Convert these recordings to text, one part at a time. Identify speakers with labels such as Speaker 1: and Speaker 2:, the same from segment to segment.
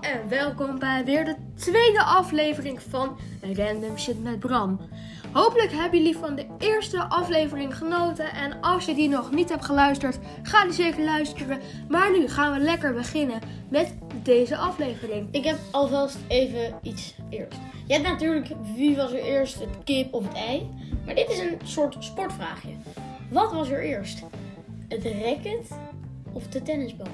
Speaker 1: en welkom bij weer de tweede aflevering van Random Shit met Bram. Hopelijk hebben jullie van de eerste aflevering genoten en als je die nog niet hebt geluisterd, ga die zeker luisteren. Maar nu gaan we lekker beginnen met deze aflevering.
Speaker 2: Ik heb alvast even iets eerst. Je hebt natuurlijk wie was er eerst, het kip of het ei. Maar dit is een soort sportvraagje. Wat was er eerst? Het racket of de tennisbal?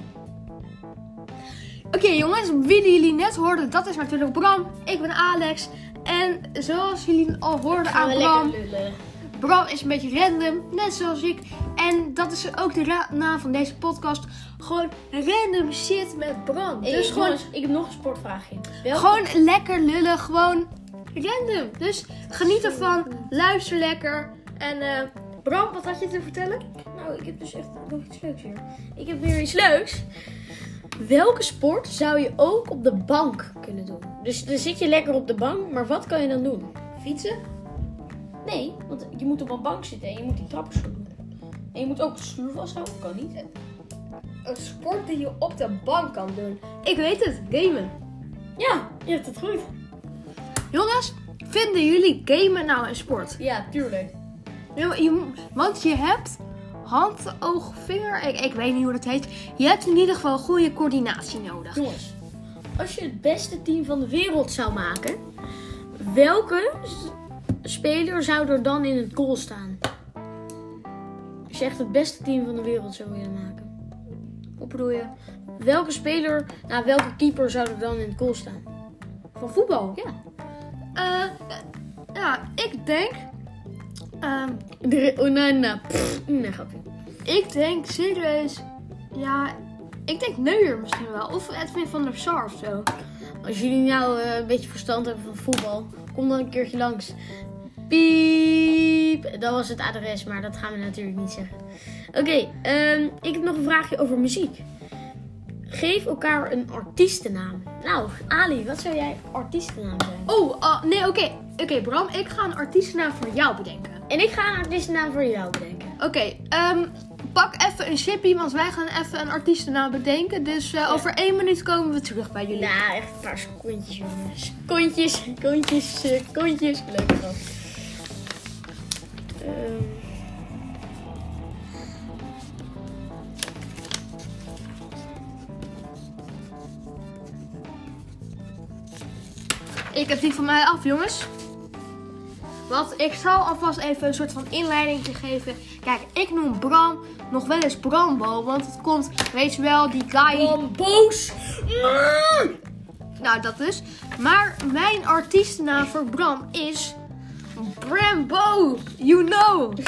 Speaker 1: Oké jongens, wie jullie net hoorden, dat is natuurlijk Bram. Ik ben Alex en zoals jullie al hoorden
Speaker 2: Gaan
Speaker 1: aan
Speaker 2: we
Speaker 1: Bram...
Speaker 2: lekker lullen.
Speaker 1: Bram is een beetje random, net zoals ik. En dat is ook de ra- naam van deze podcast. Gewoon random shit met Bram.
Speaker 2: Hey,
Speaker 1: dus gewoon,
Speaker 2: jongens, ik heb nog een sportvraagje. Welk-
Speaker 1: gewoon lekker lullen, gewoon random. Dus geniet ervan, luister lekker. En eh, Bram, wat had je te vertellen?
Speaker 2: Nou, ik heb dus echt nog iets leuks hier. Ik heb weer iets leuks. Welke sport zou je ook op de bank kunnen doen? Dus dan zit je lekker op de bank, maar wat kan je dan doen? Fietsen? Nee, want je moet op een bank zitten en je moet die trappers doen. En je moet ook sluw vasthouden, kan niet.
Speaker 1: Een sport die je op de bank kan doen. Ik weet het, gamen.
Speaker 2: Ja, je hebt het goed.
Speaker 1: Jongens, vinden jullie gamen nou een sport?
Speaker 2: Ja, tuurlijk.
Speaker 1: Nee, maar je moet- want je hebt hand, oog, vinger, ik, ik weet niet hoe dat heet. Je hebt in ieder geval goede coördinatie nodig.
Speaker 2: Jongens, als je het beste team van de wereld zou maken, welke s- speler zou er dan in het goal staan? Als je echt het beste team van de wereld zou willen maken. Wat bedoel je? Welke speler, nou welke keeper zou er dan in het goal staan?
Speaker 1: Van voetbal?
Speaker 2: Ja.
Speaker 1: Eh, ja, ik denk. ehm,
Speaker 2: Oh, nee, nee, pff, nee, grapje.
Speaker 1: ik denk serieus. Ja, ik denk Neuer misschien wel. Of Edwin van der Sar of zo.
Speaker 2: Als jullie nou eh, een beetje verstand hebben van voetbal, kom dan een keertje langs. Piep! Dat was het adres, maar dat gaan we natuurlijk niet zeggen. Oké, ehm, ik heb nog een vraagje over muziek. Geef elkaar een artiestennaam. Nou, Ali, wat zou jij artiestennaam zijn?
Speaker 1: Oh, ah, nee, oké. Oké, Bram, ik ga een artiestennaam voor jou bedenken.
Speaker 2: En ik ga een artiestennaam voor jou bedenken.
Speaker 1: Oké, ehm, pak even een chippy, want wij gaan even een artiestennaam bedenken. Dus eh, over één minuut komen we terug bij jullie.
Speaker 2: Nou, echt een paar secondjes, jongens. Kontjes, kontjes, kontjes. Leuk grap. Ehm.
Speaker 1: Ik heb die van mij af, jongens. Want ik zal alvast even een soort van inleiding te geven. Kijk, ik noem Bram nog wel eens Brambo. Want het komt, weet je wel, die guy.
Speaker 2: Bram boos. Mm!
Speaker 1: Nou, dat dus. Maar mijn artiestennaam voor Bram is. Brambo! You know!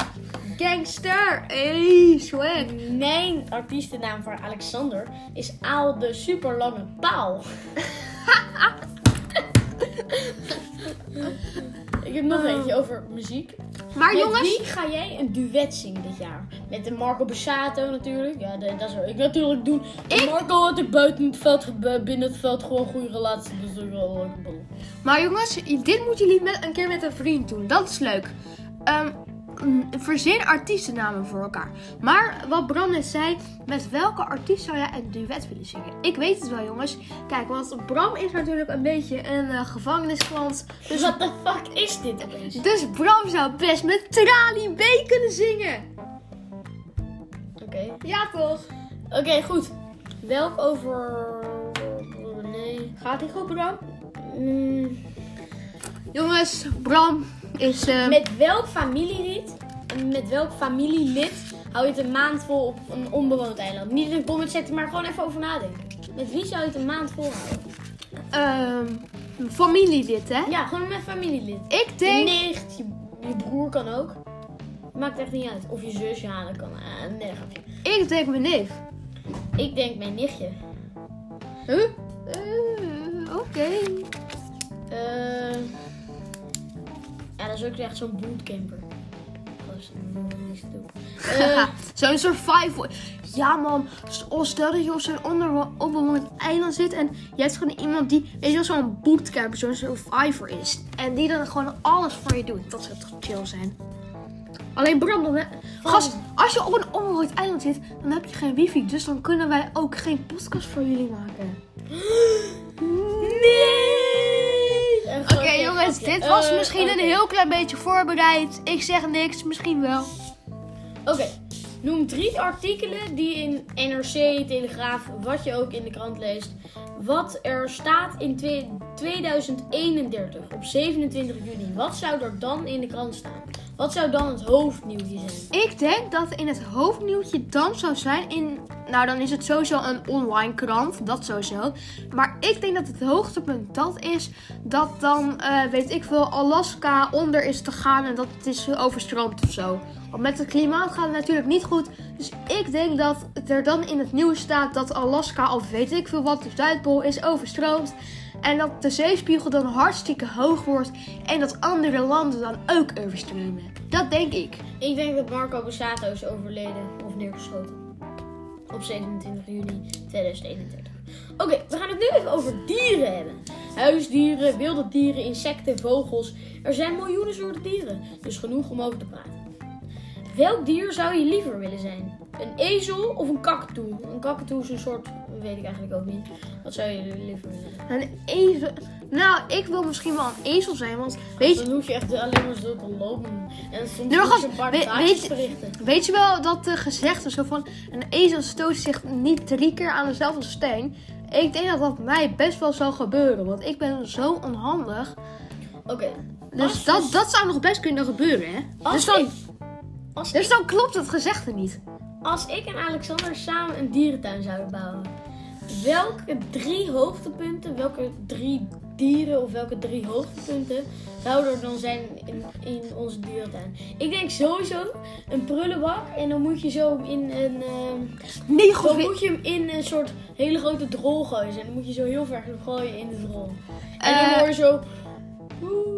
Speaker 1: Gangster! Hey, swag!
Speaker 2: Mijn artiestennaam voor Alexander is Aal de Superlange Paal. Ik heb nog eentje over muziek.
Speaker 1: Maar
Speaker 2: Met
Speaker 1: Ah. jongens.
Speaker 2: wie ga jij een duet zingen dit jaar? Met de Marco Bussato natuurlijk. Ja, de- dat zou ik natuurlijk doen.
Speaker 1: Ik-
Speaker 2: Marco had ik buiten het veld, ge- bu- binnen het veld gewoon goede relatie. Dus dat is wel een leuke bal.
Speaker 1: Maar jongens, dit moeten jullie met, een keer met een vriend doen. Dat is leuk. Ehm, mm, verzin artiestennamen voor elkaar. Maar wat Bram net zei, met welke artiest zou jij een duet willen zingen? Ik weet het wel, jongens. Kijk, want Bram is natuurlijk een beetje een eh gevangenisklant.
Speaker 2: Dus wat de fuck is dit opeens?
Speaker 1: Dus Bram zou best met Trali B kunnen zingen.
Speaker 2: Oké.
Speaker 1: Ja, toch?
Speaker 2: Oké, goed. Welk over. Nee.
Speaker 1: Gaat hij goed, Bram?
Speaker 2: Mm,
Speaker 1: Jongens, Bram is... ehm,
Speaker 2: Met welk familielid? Met welk familielid hou je het een maand vol op een onbewoond eiland? Niet in een comment zetten, maar gewoon even over nadenken. Met wie zou je het een maand vol houden?
Speaker 1: ehm, familielid, hè?
Speaker 2: Ja, gewoon met familielid.
Speaker 1: Ik
Speaker 2: Je
Speaker 1: denk...
Speaker 2: nicht, je, je broer kan ook. Maakt echt niet uit. Of je zus, ja, dat kan. eh, nee, dat gaat niet.
Speaker 1: Ik denk mijn neef.
Speaker 2: Ik denk mijn nichtje.
Speaker 1: Huh? Eh, Oké.
Speaker 2: Eh, ja, dat is ook echt zo'n bootcamper. Dat is niet te doen. Eh,
Speaker 1: zo'n survival. Ja man, stel- stel dat je op zo'n onder- onbewoond eiland zit en je hebt gewoon iemand die, weet je wel, zo'n bootcamper, zo'n survivor is. En die dan gewoon alles voor je doet. Dat zou toch chill zijn. Alleen Bram, dan, hè? gast, als je op een onbewoond eiland zit, dan heb je geen wifi. Dus dan kunnen wij ook geen podcast voor jullie maken.
Speaker 2: niet!
Speaker 1: Oké Eh, jongens, dit was
Speaker 2: Eh,
Speaker 1: misschien een heel klein beetje voorbereid. Ik zeg niks, misschien wel.
Speaker 2: Oké, noem drie artikelen die in NRC, Telegraaf, wat je ook in de krant leest, wat er staat in twee- 2031 op 27 juni. Wat zou er dan in de krant staan? Wat zou dan het hoofdnieuwtje zijn?
Speaker 1: Ik denk dat in het hoofdnieuwtje dan zou zijn in... Nou, dan is het sowieso een online krant, dat sowieso. Maar ik denk dat het hoogtepunt dat is dat dan, eh, weet ik veel, Alaska onder is te gaan en dat het is overstroomd of zo. Want met het klimaat gaat het natuurlijk niet goed. Dus ik denk dat het er dan in het nieuws staat dat Alaska of weet ik veel wat, de Zuidpool is overstroomd. En dat de zeespiegel dan hartstikke hoog wordt en dat andere landen dan ook overstromen. Dat denk ik.
Speaker 2: Ik denk dat Marco Bussato is overleden of neergeschoten. Op 27 juni 2031. Oké, we gaan het nu even over dieren hebben. Huisdieren, wilde dieren, insecten, vogels. Er zijn miljoenen soorten dieren, dus genoeg om over te praten. Welk dier zou je liever willen zijn? Een ezel of een kakatoe? Een kakatoe is een soort, weet ik eigenlijk ook niet. Wat zou je liever willen zijn?
Speaker 1: Een ezel. Nou, ik wil misschien wel een ezel zijn, want weet je,
Speaker 2: Dan hoef je echt alleen maar zo te lopen. En soms
Speaker 1: Nee, maar
Speaker 2: moet je
Speaker 1: gast,
Speaker 2: een paar
Speaker 1: we- weet
Speaker 2: taakjes
Speaker 1: je-
Speaker 2: verrichten.
Speaker 1: weet je wel dat de gezegde zo van een ezel stoot zich niet drie keer aan dezelfde steen. Ik denk dat dat mij best wel zou gebeuren, want ik ben zo onhandig.
Speaker 2: Oké.
Speaker 1: Dus
Speaker 2: Als je
Speaker 1: dat, dat zou nog best kunnen gebeuren, hè?
Speaker 2: Als
Speaker 1: Dus dan,
Speaker 2: ik- Als
Speaker 1: dus dan klopt het gezegde niet.
Speaker 2: Als ik en Alexander samen een dierentuin zouden bouwen, welke drie hoogtepunten, welke drie dieren of welke drie hoogtepunten zouden er dan zijn in, in onze dierentuin? Ik denk sowieso een prullenbak en dan moet je zo in een. ehm,
Speaker 1: Nee, goed.
Speaker 2: dan
Speaker 1: we-
Speaker 2: moet je hem in een soort hele grote drol gooien. En dan moet je zo heel ver gooien in de drol. En dan
Speaker 1: Eh,
Speaker 2: hoor je zo. "Woe."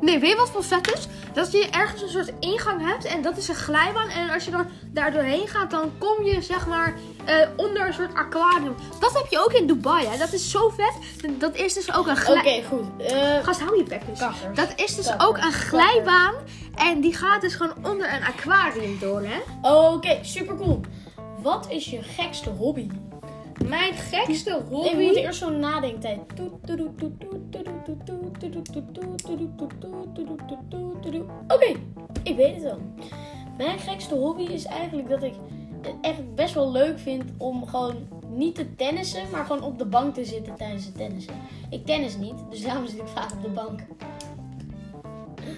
Speaker 1: Nee, weet je wat voor vet is? Dat je ergens een soort ingang hebt en dat is een glijbaan. En als je dan daar doorheen gaat, dan kom je zeg maar eh, onder een soort aquarium. Dat heb je ook in Dubai, hè? Dat is zo vet. Dat is dus ook een
Speaker 2: Oké,
Speaker 1: glijbaan.
Speaker 2: goed. Eh,
Speaker 1: Gast, hou je bek dus.
Speaker 2: Kakkers.
Speaker 1: Dat is dus
Speaker 2: Kakkers.
Speaker 1: ook een glijbaan. En die gaat dus gewoon onder een aquarium door, hè?
Speaker 2: Oké, super cool. Wat is je gekste hobby?
Speaker 1: Mijn gekste hobby...
Speaker 2: Nee, we moeten eerst zo'n nadenktijd. Toet, toet, toet, toet, toet, toet, toet, toet, toet, toet, toet, toet, toet, toet, toet, toet, toet, toet, toet. Oké, ik weet het wel. Mijn gekste hobby is eigenlijk dat ik het echt best wel leuk vind om gewoon niet te tennissen, maar gewoon op de bank te zitten tijdens het tennissen. Ik tennis niet, dus daarom zit ik vaak op de bank.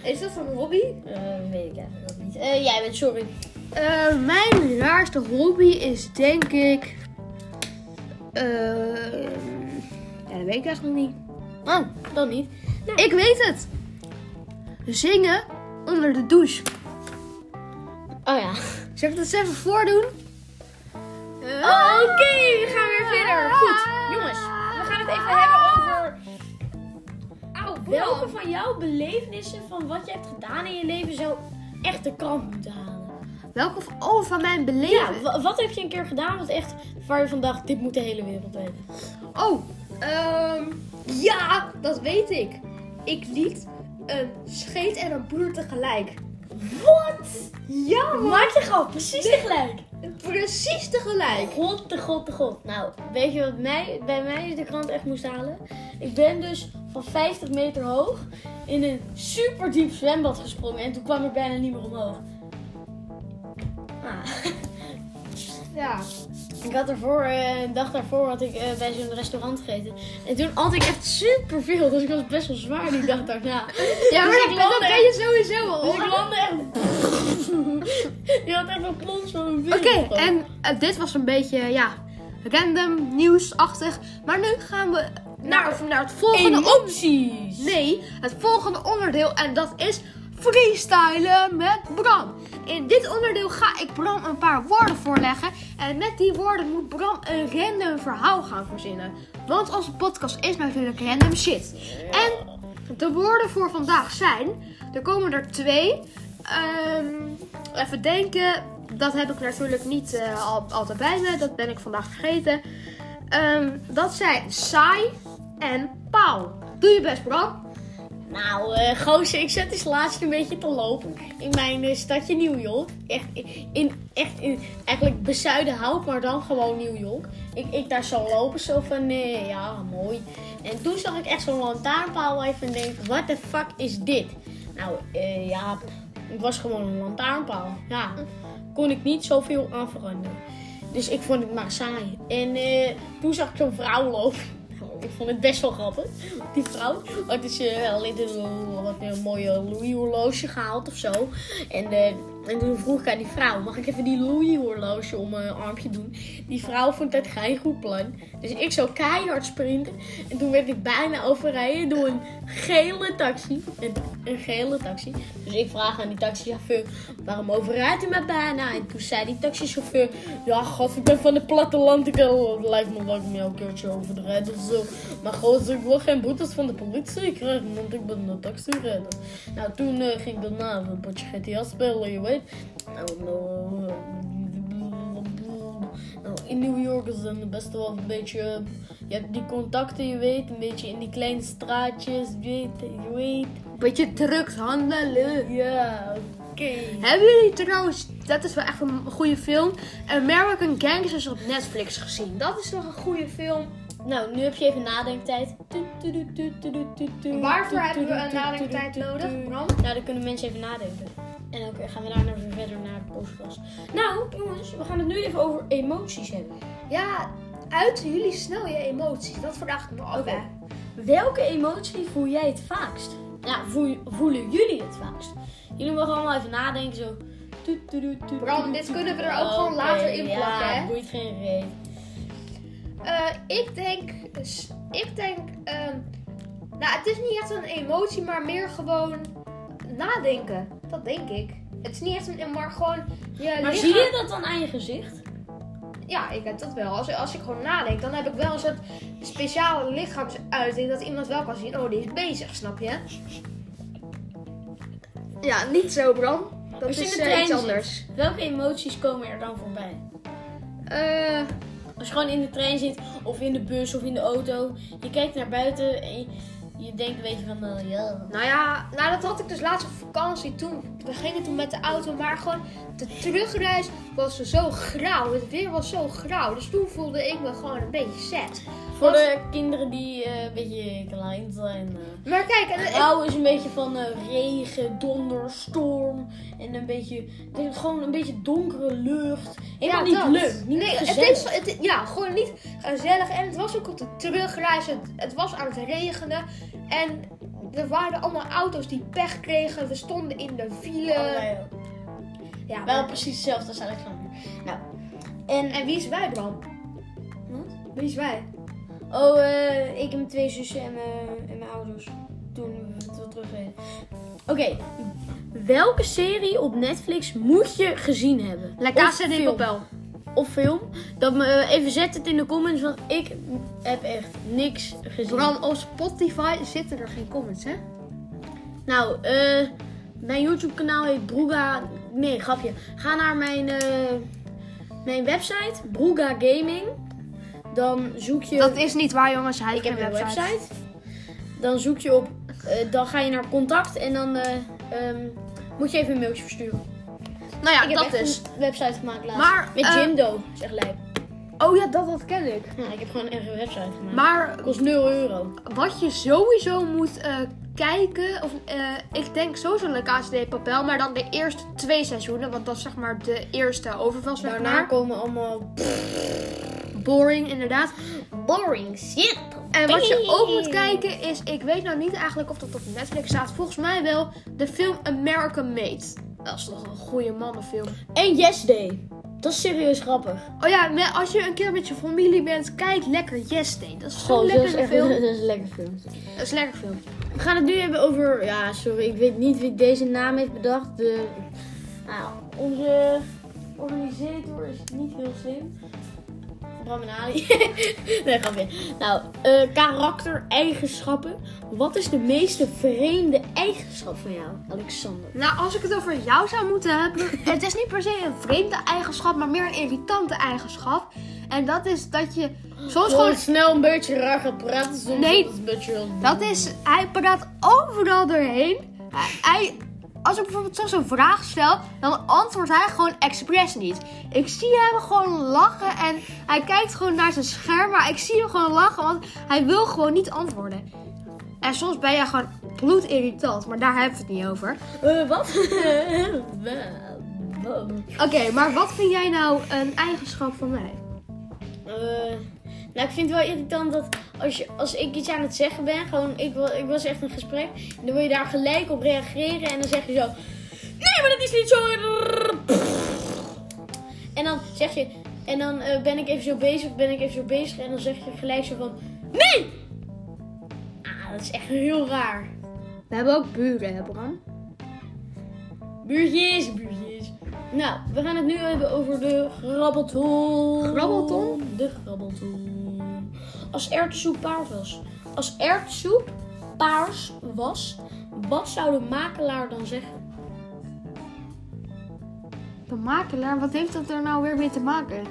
Speaker 1: Is dat een hobby?
Speaker 2: Eh, weet ik eigenlijk ook niet. Eh, jij bent sorry.
Speaker 1: Eh, mijn raarste hobby is denk ik. eh, ja, dat weet ik eigenlijk nog niet.
Speaker 2: Oh, dan niet.
Speaker 1: Ik weet het! Zingen onder de douche.
Speaker 2: Oh ja.
Speaker 1: Zeg ik dat eens even voordoen? Eh,
Speaker 2: Ah. Oké, we gaan weer verder. Goed, jongens, we gaan het even hebben over. Auw, welke van jouw belevenissen van wat je hebt gedaan in je leven zou echt de krant moeten halen?
Speaker 1: Welke van, oh, van mijn
Speaker 2: Ja,
Speaker 1: beleven?
Speaker 2: wa- wat heb je een keer gedaan wat echt waar je vandaag dit moet de hele wereld weten?
Speaker 1: Oh, ehm, ja, dat weet ik. Ik liet een scheet en een boer tegelijk.
Speaker 2: Wat?
Speaker 1: Ja,
Speaker 2: Maak je gewoon precies tegelijk.
Speaker 1: precies tegelijk.
Speaker 2: God de god de god. Nou, weet je wat mij, bij mij de krant echt moest halen? Ik ben dus van 50 meter hoog in een super diep zwembad gesprongen en toen kwam ik bijna niet meer omhoog. Ah.
Speaker 1: Ja.
Speaker 2: Ik had ervoor, eh, een dag daarvoor had ik eh, bij zo'n restaurant gegeten. En toen at ik echt superveel, dus ik was best wel zwaar die dag daarna.
Speaker 1: Ja, maar
Speaker 2: Dus
Speaker 1: dat ben,
Speaker 2: ik
Speaker 1: dat
Speaker 2: landde
Speaker 1: ben je
Speaker 2: echt-
Speaker 1: sowieso al.
Speaker 2: Dus
Speaker 1: hoor.
Speaker 2: ik landde echt... Je had echt een plons van mijn
Speaker 1: Oké,
Speaker 2: been.
Speaker 1: en eh, dit was een beetje, ja, random, nieuwsachtig. Maar nu gaan we naar, naar het volgende op.
Speaker 2: Emoties!
Speaker 1: Nee, het volgende onderdeel en dat is freestylen met Bram. In dit onderdeel ga ik Bram een paar woorden voorleggen. En met die woorden moet Bram een random verhaal gaan verzinnen. Want onze podcast is natuurlijk random shit. En de woorden voor vandaag zijn... Er komen er twee. Ehm, even denken. Dat heb ik natuurlijk niet eh, al, altijd bij me. Dat ben ik vandaag vergeten. Ehm, dat zijn saai en pauw. Doe je best, Bram.
Speaker 2: Nou, eh gozer, ik zat dus laatst een beetje te lopen in mijn eh, stadje New York. Echt in, echt in, eigenlijk bezuiden hout, maar dan gewoon New York. Ik, ik daar zo lopen, zo van, nee, eh, ja, mooi. En toen zag ik echt zo'n lantaarnpaal even en denk, what the fuck is dit? Nou, eh, ja, het was gewoon een lantaarnpaal. Ja, kon ik niet zoveel aan veranderen. Dus ik vond het maar saai. En eh, toen zag ik zo'n vrouw lopen. Nou, Ik vond het best wel grappig, die vrouw. Had is eh, wel in een, wat een mooie Louis horloge gehaald of zo. En, eh, en toen vroeg ik aan die vrouw, mag ik even die Louis horloge om mijn armpje doen? Die vrouw vond dat geen goed plan. Dus ik zou keihard sprinten. En toen werd ik bijna overrijden door een gele taxi. Een, een gele taxi. Dus ik vraag aan die taxichauffeur, waarom overrijdt u mij bijna? En toen zei die taxichauffeur, ja gast, ik ben van het platteland. Ik eh, lijkt me leuk om jou een keertje overrijden of zo. Maar gozer, ik wil geen boetes van de politie krijgen, want ik ben een taxirijder. Nou, toen eh, ging ik daarna een potje GTA spelen, je weet. Nou, nou, eh, nou, in New York is dan het best wel een beetje. eh, Je hebt die contacten, je weet, een beetje in die kleine straatjes, je weet. Je weet.
Speaker 1: Beetje drugs handelen.
Speaker 2: Ja, oké.
Speaker 1: Hebben jullie trouwens, dat is wel echt een goede film, American Gangsters op Netflix gezien? Dat is toch een goede film?
Speaker 2: Nou, nu heb je even nadenktijd. Tu, tu, tu, tu, tu, tu, tu, tu,
Speaker 1: Waarvoor
Speaker 2: tu,
Speaker 1: hebben we
Speaker 2: tu,
Speaker 1: een
Speaker 2: tu, tu,
Speaker 1: nadenktijd
Speaker 2: tu, tu,
Speaker 1: nodig,
Speaker 2: tu.
Speaker 1: Bram?
Speaker 2: Nou, dan kunnen mensen even nadenken. En dan gaan we daarna weer verder naar de podcast. Nou, jongens, we gaan het nu even over emoties hebben.
Speaker 1: Ja, uiten jullie snel je emoties. Dat verdacht ik me af.
Speaker 2: Oké.
Speaker 1: hè.
Speaker 2: Welke emotie voel jij het vaakst? Ja, voel, voelen jullie het vaakst? Jullie mogen allemaal even nadenken zo. Toet, toet, toet, toet,
Speaker 1: Bram,
Speaker 2: toet,
Speaker 1: dit
Speaker 2: toet.
Speaker 1: kunnen we er ook gewoon
Speaker 2: Oké,
Speaker 1: later in plakken,
Speaker 2: Ja,
Speaker 1: hè?
Speaker 2: boeit geen reet.
Speaker 1: Eh, ik denk, ik denk, ehm, nou het is niet echt een emotie, maar meer gewoon nadenken. Dat denk ik. Het is niet echt een, maar gewoon je
Speaker 2: Maar
Speaker 1: lichaam-
Speaker 2: zie je dat dan aan je gezicht?
Speaker 1: Ja, ik heb dat wel. Als, als ik gewoon nadenk, dan heb ik wel een soort speciale lichaamsuiting dat iemand wel kan zien. Oh, die is bezig, snap je? Ja, niet zo, Bram. Dat
Speaker 2: Als je in
Speaker 1: is
Speaker 2: de
Speaker 1: eh,
Speaker 2: trein
Speaker 1: iets
Speaker 2: zit.
Speaker 1: anders.
Speaker 2: Welke emoties komen er dan voorbij?
Speaker 1: Eh,
Speaker 2: Als je gewoon in de trein zit, of in de bus, of in de auto. Je kijkt naar buiten en je, je denkt een beetje van, eh, ja.
Speaker 1: nou ja, nou dat had ik dus laatst op vakantie. Toen, we gingen toen met de auto, maar gewoon de terugreis was zo grauw. Het weer was zo grauw. Dus toen voelde ik me gewoon een beetje sad.
Speaker 2: Voor de kinderen die eh, een beetje klein zijn. eh,
Speaker 1: Maar kijk, en, en-
Speaker 2: Rauw is een beetje van eh, regen, donder, storm en een beetje, ik denk gewoon een beetje donkere lucht. Helemaal niet
Speaker 1: dat.
Speaker 2: leuk, niet
Speaker 1: nee, het
Speaker 2: gezellig.
Speaker 1: is, het, ja, gewoon niet gezellig. En het was ook op de terugreis. Het, het was aan het regenen. En er waren allemaal auto's die pech kregen. We stonden in de file.
Speaker 2: Allebei ook.
Speaker 1: Ja,
Speaker 2: Wel
Speaker 1: maar-
Speaker 2: precies hetzelfde als Alexander. Nou, en,
Speaker 1: En wie is wij, Bram?
Speaker 2: Wat?
Speaker 1: Wie is wij?
Speaker 2: oh, eh, ik en mijn twee zussen en mijn, en mijn ouders toen we het terugreden. Oké, welke serie op Netflix moet je gezien hebben?
Speaker 1: La
Speaker 2: Of
Speaker 1: Casa de
Speaker 2: film?
Speaker 1: Papel.
Speaker 2: Of film. Dat me eh, even zet het in de comments, want ik heb echt niks gezien.
Speaker 1: Bram, op Spotify zitten er geen comments, hè?
Speaker 2: Nou, eh, mijn YouTube kanaal heet Broega. Nee, grapje. Ga naar mijn, eh, mijn website, Broega Gaming. Dan zoek je.
Speaker 1: Dat is niet waar, jongens. Hij
Speaker 2: ik heb een website.
Speaker 1: website.
Speaker 2: Dan zoek je op. eh, dan ga je naar contact en dan eh, ehm, moet je even een mailtje versturen.
Speaker 1: Nou ja,
Speaker 2: ik heb
Speaker 1: dat
Speaker 2: echt
Speaker 1: is.
Speaker 2: een website gemaakt laatst.
Speaker 1: Maar,
Speaker 2: Met
Speaker 1: eh,
Speaker 2: Jimdo, zeg lijp.
Speaker 1: Oh ja, dat, dat ken ik.
Speaker 2: Ja, ik heb gewoon echt een website gemaakt.
Speaker 1: Maar
Speaker 2: kost 0 euro.
Speaker 1: Wat je sowieso moet eh, kijken, of eh, ik denk sowieso La Casa de Papel, maar dan de eerste twee seizoenen, want dat is zeg maar de eerste overval, zeg
Speaker 2: Daarna
Speaker 1: maar.
Speaker 2: komen allemaal
Speaker 1: Boring, inderdaad.
Speaker 2: boring shit.
Speaker 1: En wat je ook moet kijken is, ik weet nou niet eigenlijk of dat op Netflix staat, volgens mij wel, de film American Made. Dat is toch een goede mannenfilm.
Speaker 2: En Yes Day. Dat is serieus grappig.
Speaker 1: Oh ja, me- als je een keer met je familie bent, kijk lekker Yes Day. Dat is zo'n
Speaker 2: Goh,
Speaker 1: lekkere film.
Speaker 2: dat is een lekker film.
Speaker 1: Dat is een lekker film.
Speaker 2: We gaan het nu hebben over. Ja, sorry, ik weet niet wie deze naam heeft bedacht. De, nou, onze organisator is niet heel slim. Bram en Ali. nee, grapje. Nou, eh karaktereigenschappen. Wat is de meeste vreemde eigenschap van jou, Alexander?
Speaker 1: Nou, als ik het over jou zou moeten hebben. Het is niet per se een vreemde eigenschap, maar meer een irritante eigenschap. En dat is dat je soms gewoon.
Speaker 2: snel een beetje raar gaat praten. Soms
Speaker 1: Nee.
Speaker 2: Nou, is het een beetje heel-
Speaker 1: Dat is. Hij praat overal doorheen. Hij. hij- als ik bijvoorbeeld soms een vraag stel, dan antwoordt hij gewoon expres niet. Ik zie hem gewoon lachen en hij kijkt gewoon naar zijn scherm, maar ik zie hem gewoon lachen, want hij wil gewoon niet antwoorden. En soms ben jij gewoon bloedirritant, maar daar hebben we het niet over.
Speaker 2: Eh, wat? Eh,
Speaker 1: Oké, maar wat vind jij nou een eigenschap van mij?
Speaker 2: nou, ik vind het wel irritant dat als, je, als ik iets aan het zeggen ben, gewoon, ik, wil, ik was echt een gesprek, en dan wil je daar gelijk op reageren en dan zeg je zo, nee, maar dat is niet zo. En dan zeg je, en dan eh, ben ik even zo bezig, ben ik even zo bezig en dan zeg je gelijk zo van, nee! Ah, dat is echt heel raar.
Speaker 1: We hebben ook buren, hè Bram?
Speaker 2: Buurtjes, buurtjes. Nou, we gaan het nu hebben over de grabbelton.
Speaker 1: Grabbelton?
Speaker 2: De grabbelton. Als erwtensoep paars was. Als erwtensoep paars was, wat zou de makelaar dan zeggen?
Speaker 1: De makelaar, wat heeft dat er nou weer mee te maken?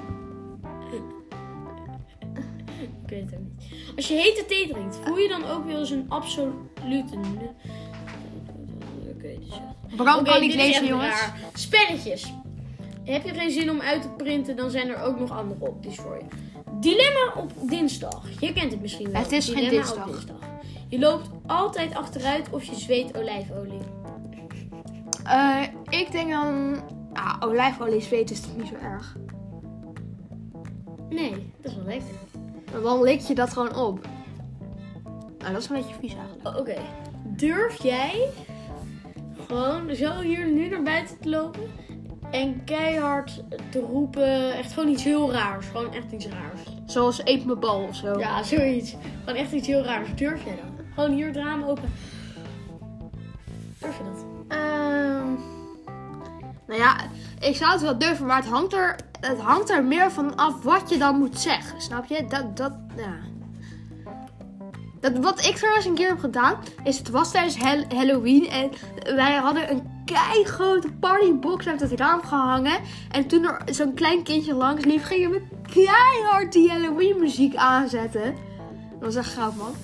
Speaker 2: Ik weet het ook niet. Als je hete thee drinkt, voel je dan ook wel eens een absolute... nu- Ik weet het niet.
Speaker 1: Bram
Speaker 2: Oké,
Speaker 1: kan niet
Speaker 2: dit is
Speaker 1: lezen,
Speaker 2: echt
Speaker 1: jongens.
Speaker 2: raar. Spelletjes. Heb je geen zin om uit te printen, dan zijn er ook nog andere opties voor je. Dilemma op dinsdag. Je kent het misschien wel.
Speaker 1: Het is geen
Speaker 2: Dilemma
Speaker 1: dinsdag.
Speaker 2: Op dinsdag. Je loopt altijd achteruit of je zweet olijfolie.
Speaker 1: Eh, ik denk dan... Ah, olijfolie zweet is toch niet zo erg?
Speaker 2: Nee, dat is wel lekker.
Speaker 1: Maar waarom lik je dat gewoon op? Nou, dat is een beetje vies eigenlijk.
Speaker 2: O- Oh, Oké. Durf jij gewoon zo hier nu naar buiten te lopen en keihard te roepen? Echt gewoon iets heel raars. Gewoon echt iets raars.
Speaker 1: Zoals eet mijn bal of zo.
Speaker 2: Ja, zoiets. Gewoon echt iets heel raars. Durf jij dat? Gewoon hier het raam open. Durf je dat?
Speaker 1: Ehm, nou ja, ik zou het wel durven, maar het hangt er, het hangt er meer van af wat je dan moet zeggen. Snap je? Dat, dat, ja. Dat, wat ik trouwens een keer heb gedaan, is het was tijdens Hel- Halloween en wij hadden een keigrote partybox uit het raam gehangen. En toen er zo'n klein kindje langs liep, gingen we keihard die Halloween muziek aanzetten. Dat was echt gaaf man.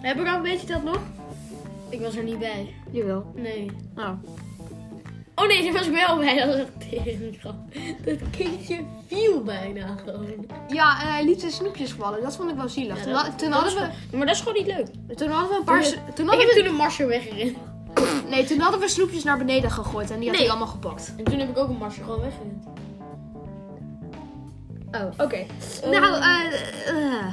Speaker 2: Heb ik al een beetje dat nog? Ik was er niet bij.
Speaker 1: Jawel.
Speaker 2: Nee.
Speaker 1: Nou.
Speaker 2: Oh nee, daar was ik wel bij. Dat was echt tering grap. Dat kindje viel bijna gewoon.
Speaker 1: Ja, en hij liet zijn snoepjes vallen. Dat vond ik wel zielig.
Speaker 2: Ja,
Speaker 1: toen,
Speaker 2: dat-
Speaker 1: had- toen
Speaker 2: dat
Speaker 1: hadden
Speaker 2: is
Speaker 1: we,
Speaker 2: gewoon- Maar dat is gewoon niet leuk.
Speaker 1: toen hadden we een paar...
Speaker 2: Ja.
Speaker 1: s- Toen
Speaker 2: ik
Speaker 1: hadden
Speaker 2: heb
Speaker 1: we,
Speaker 2: toen een marsje weggerend.
Speaker 1: nee, toen hadden we snoepjes naar beneden gegooid. En die had
Speaker 2: Nee.
Speaker 1: hij allemaal gepakt.
Speaker 2: En toen heb ik ook een marsje gewoon weggerend.
Speaker 1: Oh, oké.
Speaker 2: Ehm,
Speaker 1: Nou, eh... eh,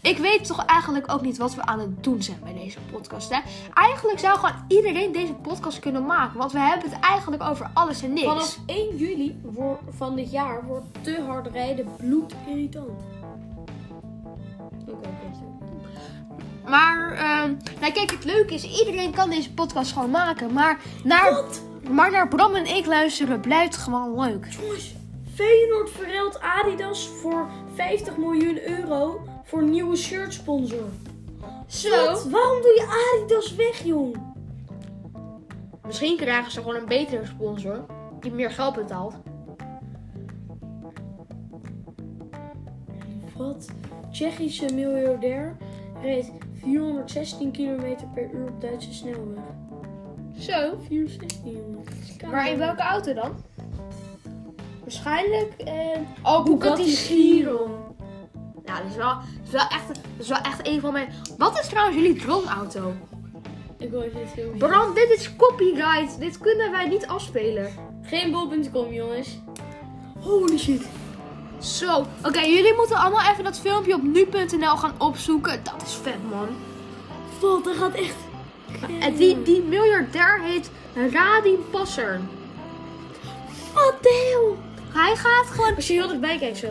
Speaker 1: ik weet toch eigenlijk ook niet wat we aan het doen zijn bij deze podcast, hè? Eigenlijk zou gewoon iedereen deze podcast kunnen maken. Want we hebben het eigenlijk over alles en niks.
Speaker 2: Vanaf 1 juli voor- van dit jaar wordt te hard rijden bloedirritant. Oké, oké. zo.
Speaker 1: Maar, ehm, nou kijk, het leuke is, iedereen kan deze podcast gewoon maken. Maar naar, maar naar Bram en ik luisteren blijft gewoon leuk.
Speaker 2: Jongens, Feyenoord verruilt Adidas voor 50 miljoen euro voor nieuwe shirt sponsor.
Speaker 1: Zo.
Speaker 2: Waarom doe je Adidas weg, jong?
Speaker 1: Misschien krijgen ze gewoon een betere sponsor die meer geld betaalt.
Speaker 2: Wat? Tsjechische miljardair reed 416 km per uur op Duitse snelweg.
Speaker 1: Zo.
Speaker 2: 416, jongen.
Speaker 1: Maar in welke auto dan? Waarschijnlijk. eh oh,
Speaker 2: Bugatti Chiron.
Speaker 1: Nou, dat is wel, dat is wel echt, dat is wel echt een van mijn. Wat is trouwens jullie droomauto?
Speaker 2: Ik hoor dit heel goed.
Speaker 1: Bram, dit is copyright. Dit kunnen wij niet afspelen.
Speaker 2: Geen bol.com, jongens. Holy shit.
Speaker 1: Zo. Oké, jullie moeten allemaal even dat filmpje op nu.nl gaan opzoeken. Dat is vet, man.
Speaker 2: Wat, dat gaat echt...
Speaker 1: En
Speaker 2: eh,
Speaker 1: die, die miljardair heet Radin Passer.
Speaker 2: Wat de hel?
Speaker 1: Hij gaat gewoon
Speaker 2: Als je heel dichtbij kijkt zo.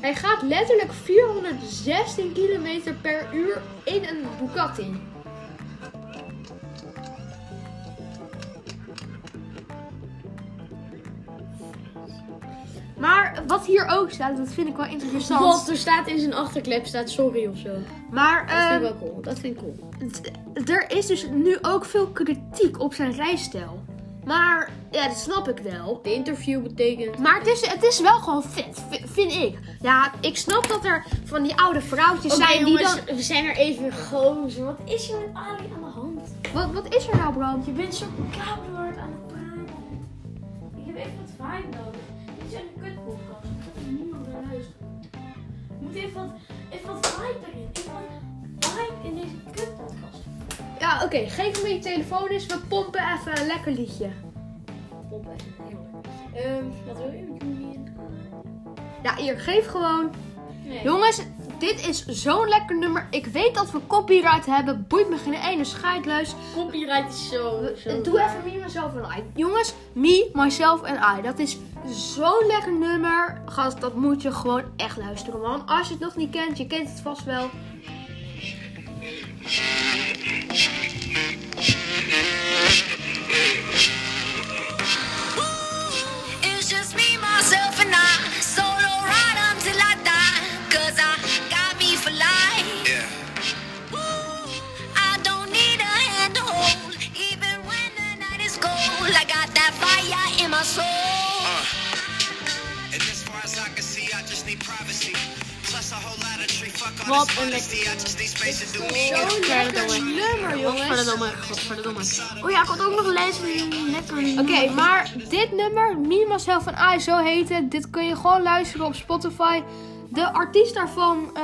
Speaker 1: Hij gaat letterlijk 416 km per uur in een Bugatti. Maar wat hier ook staat, dat vind ik wel interessant.
Speaker 2: Wat, er staat in zijn achterklep staat sorry of zo.
Speaker 1: Maar
Speaker 2: Dat vind
Speaker 1: ehm,
Speaker 2: ik wel cool. Dat vind ik cool.
Speaker 1: d- er is dus nu ook veel kritiek op zijn rijstijl. Maar ja, dat snap ik wel.
Speaker 2: De interview betekent.
Speaker 1: Maar het is, het is wel gewoon vet, vi- vind ik. Ja, ik snap dat er van die oude vrouwtjes zijn die dan...
Speaker 2: we zijn er even gozer. Wat is er met Ali aan de hand?
Speaker 1: Wat, wat is er nou, Bram?
Speaker 2: Je bent zo kabel hype nodig. Dit is echt een kutpodcast. Er gaat niemand naar luisteren. Er moet even wat, even wat hype erin. Even wat hype in deze kutpodcast.
Speaker 1: Ja, oké. Geef me je telefoon eens. We pompen even een lekker liedje.
Speaker 2: Poppen, heel leuk. Ehm, wat wil je met jullie?
Speaker 1: Ja, hier. Geef gewoon.
Speaker 2: Nee.
Speaker 1: Jongens, dit is zo'n lekker nummer. Ik weet dat we copyright hebben. Boeit me geen ene scheidluis. Eh,
Speaker 2: Copyright is zo. zo
Speaker 1: Doe even Me, Myself en I. Jongens, Me, Myself en I. Dat is zo'n lekker nummer. Gast, dat moet je gewoon echt luisteren, man. Als je het nog niet kent, je kent het vast wel.
Speaker 3: It's just me, myself, and I. Solo ride until I die. Cause I got me for life.
Speaker 4: Yeah.
Speaker 3: I don't need a hand to hold. Even when the night is cold, I got that fire in my soul.
Speaker 4: And as far as I can see, I just need privacy. Plus a whole lot of tree. Fuck all
Speaker 2: Wat
Speaker 4: this
Speaker 2: een
Speaker 4: honesty. I just need space to do me.
Speaker 1: Zo'n lekker nummer, jongens.
Speaker 2: Godverdomme, godverdomme.
Speaker 1: Oh ja, ik had ook nog lezen. Lekker. Oké, maar dit nummer, Me, Myself en I, zo heet het. Dit kun je gewoon luisteren op Spotify. De artiest daarvan, eh,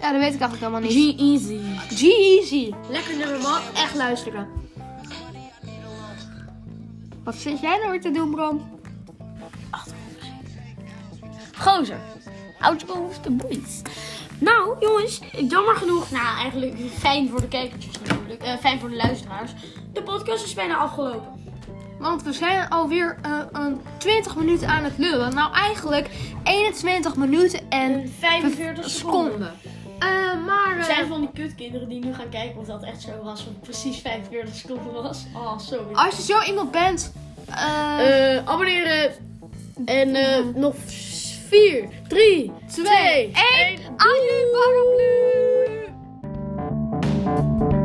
Speaker 1: ja, dat weet ik eigenlijk helemaal niet. E
Speaker 2: G-Easy.
Speaker 1: G-Easy. Lekker nummer, man. Echt luisteren. Wat zit jij nou weer te doen, Bram?
Speaker 2: Gozer. Outpost de boys. Nou, jongens, jammer genoeg. Nou, eigenlijk fijn voor de kijkertjes natuurlijk. Eh, fijn voor de luisteraars. De podcast is bijna afgelopen.
Speaker 1: Want we zijn alweer eh, een 20 minuten aan het lullen. Nou, eigenlijk 21 minuten en
Speaker 2: En 45 seconden.
Speaker 1: seconden. Eh, maar... eh,
Speaker 2: Er zijn van die kutkinderen die nu gaan kijken of dat echt zo was. Of het precies 45 seconden was. Oh, sorry.
Speaker 1: eh, Als je zo iemand bent... eh,
Speaker 2: Eh, abonneren. En eh, nog 4, 3, 2,
Speaker 1: Twee,
Speaker 2: 1.
Speaker 1: Adieu, Barblu!
Speaker 3: Thank